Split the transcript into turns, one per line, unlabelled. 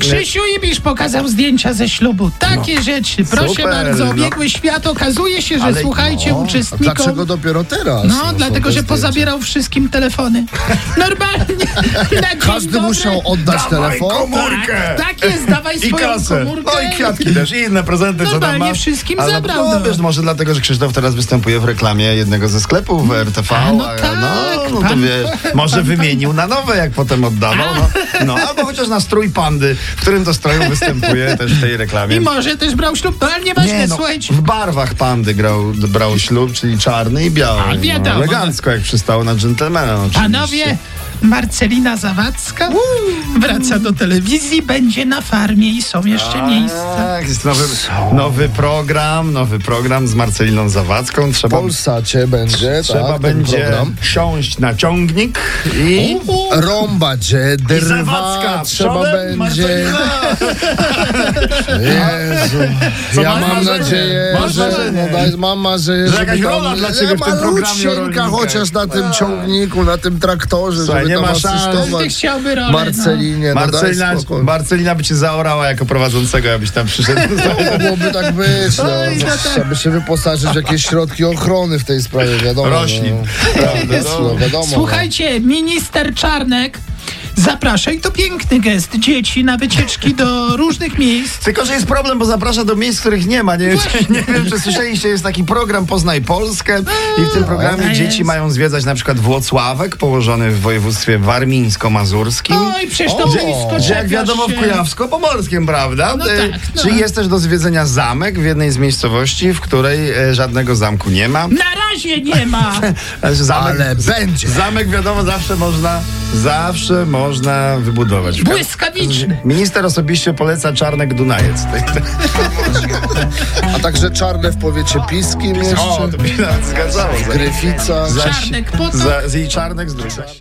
Krzysiu Ibisz pokazał zdjęcia ze ślubu. Takie rzeczy. Proszę
No. Super,
bardzo,
no.
obiegły świat. Okazuje się, że
Ale-
słuchajcie
o, a
uczestnikom.
Dlaczego dopiero teraz?
No,
są
dlatego,
te
że
zdjęcia.
pozabierał wszystkim telefony. Normalnie. Na dzień
Każdy
dobry.
musiał oddać telefon.
Tak, tak jest, dawaj
I
swoją
kasę.
komórkę.
No i kwiatki też, i inne prezenty, co tam
Normalnie
masz.
wszystkim
Ale
zabrał,
No,
no.
wiesz, może dlatego, że Krzysztof teraz występuje w reklamie jednego ze sklepów RTV.
A, no tak,
no, no to
pan-
wiesz, może wymienił na nowe, jak potem oddawał. No, no albo chociaż na strój pandy, w którym to stroju występuje też w tej reklamie.
I może też brał ślub. No, ale nieważne,
Nie, no,
słuchajcie.
w barwach pandy grał, brał ślub, czyli czarny i biały.
A, wiadomo,
no, elegancko, jak przystało na dżentelmena. oczywiście.
Panowie, Marcelina Zawadzka wraca do telewizji, będzie na farmie i są jeszcze miejsca.
Tak, jest nowy, nowy program, nowy program z Marceliną Zawadzką. Trzeba,
Polsacie będzie,
trzeba
tak, ten
będzie
program.
siąść na ciągnik i...
Rąbacie, drwa,
Zawadzka
trzeba
przodem,
będzie. Jezu. Ja
masz
mam
marzenie?
nadzieję,
Masz
że
marzenie?
no, daj, mam marzenie,
Że jakaś
żeby tam-
rola dla ciebie w tym programie
Malusieńka
rolnika.
chociaż na tym ciągniku, na tym traktorze,
Słuchaj,
żeby
nie
tam
ma szans.
Każdy
asystować
chciałby rolę.
Marcelinie. No daj
Marcelina,
spokój.
Marcelina by cię zaorała jako prowadzącego, jakbyś tam przyszedł.
Mogłoby tak być, no.
Oj, no tak.
Trzeba by się wyposażyć w jakieś środki ochrony w tej sprawie, wiadomo.
Roślin.
No.
Prawda,
No,
no.
wiadomo.
No.
no.
Słuchajcie, minister Czarnek zaprasza i to piękny gest dzieci na wycieczki do różnych miejsc.
Tylko, że jest problem, bo zaprasza do miejsc, których nie ma. Nie, wiem, czy- nie wiem, czy słyszeliście, jest taki program Poznaj Polskę i w tym programie
A,
dzieci
Tak. jest.
mają zwiedzać na przykład Włocławek, położony w województwie warmińsko-mazurskim.
Oj, przecież to
O,
blisko
Że jak
czepiasz
wiadomo w
się.
Kujawsko-Pomorskim, prawda?
No
E,
tak, no.
Czyli jest też do zwiedzenia zamek w jednej z miejscowości, w której e, żadnego zamku nie ma.
Na razie nie ma.
E, Zamek,
Ale będzie.
zamek wiadomo zawsze można, zawsze można wybudować.
Błyskawiczny.
Minister osobiście poleca Czarnek Dunajec.
A także czarne w powiecie piskim jeszcze.
O, to by się nawet zgadzało.
Gryfica.
Za-
Czarnek po to.
Za, z jej Czarnek z drugiej.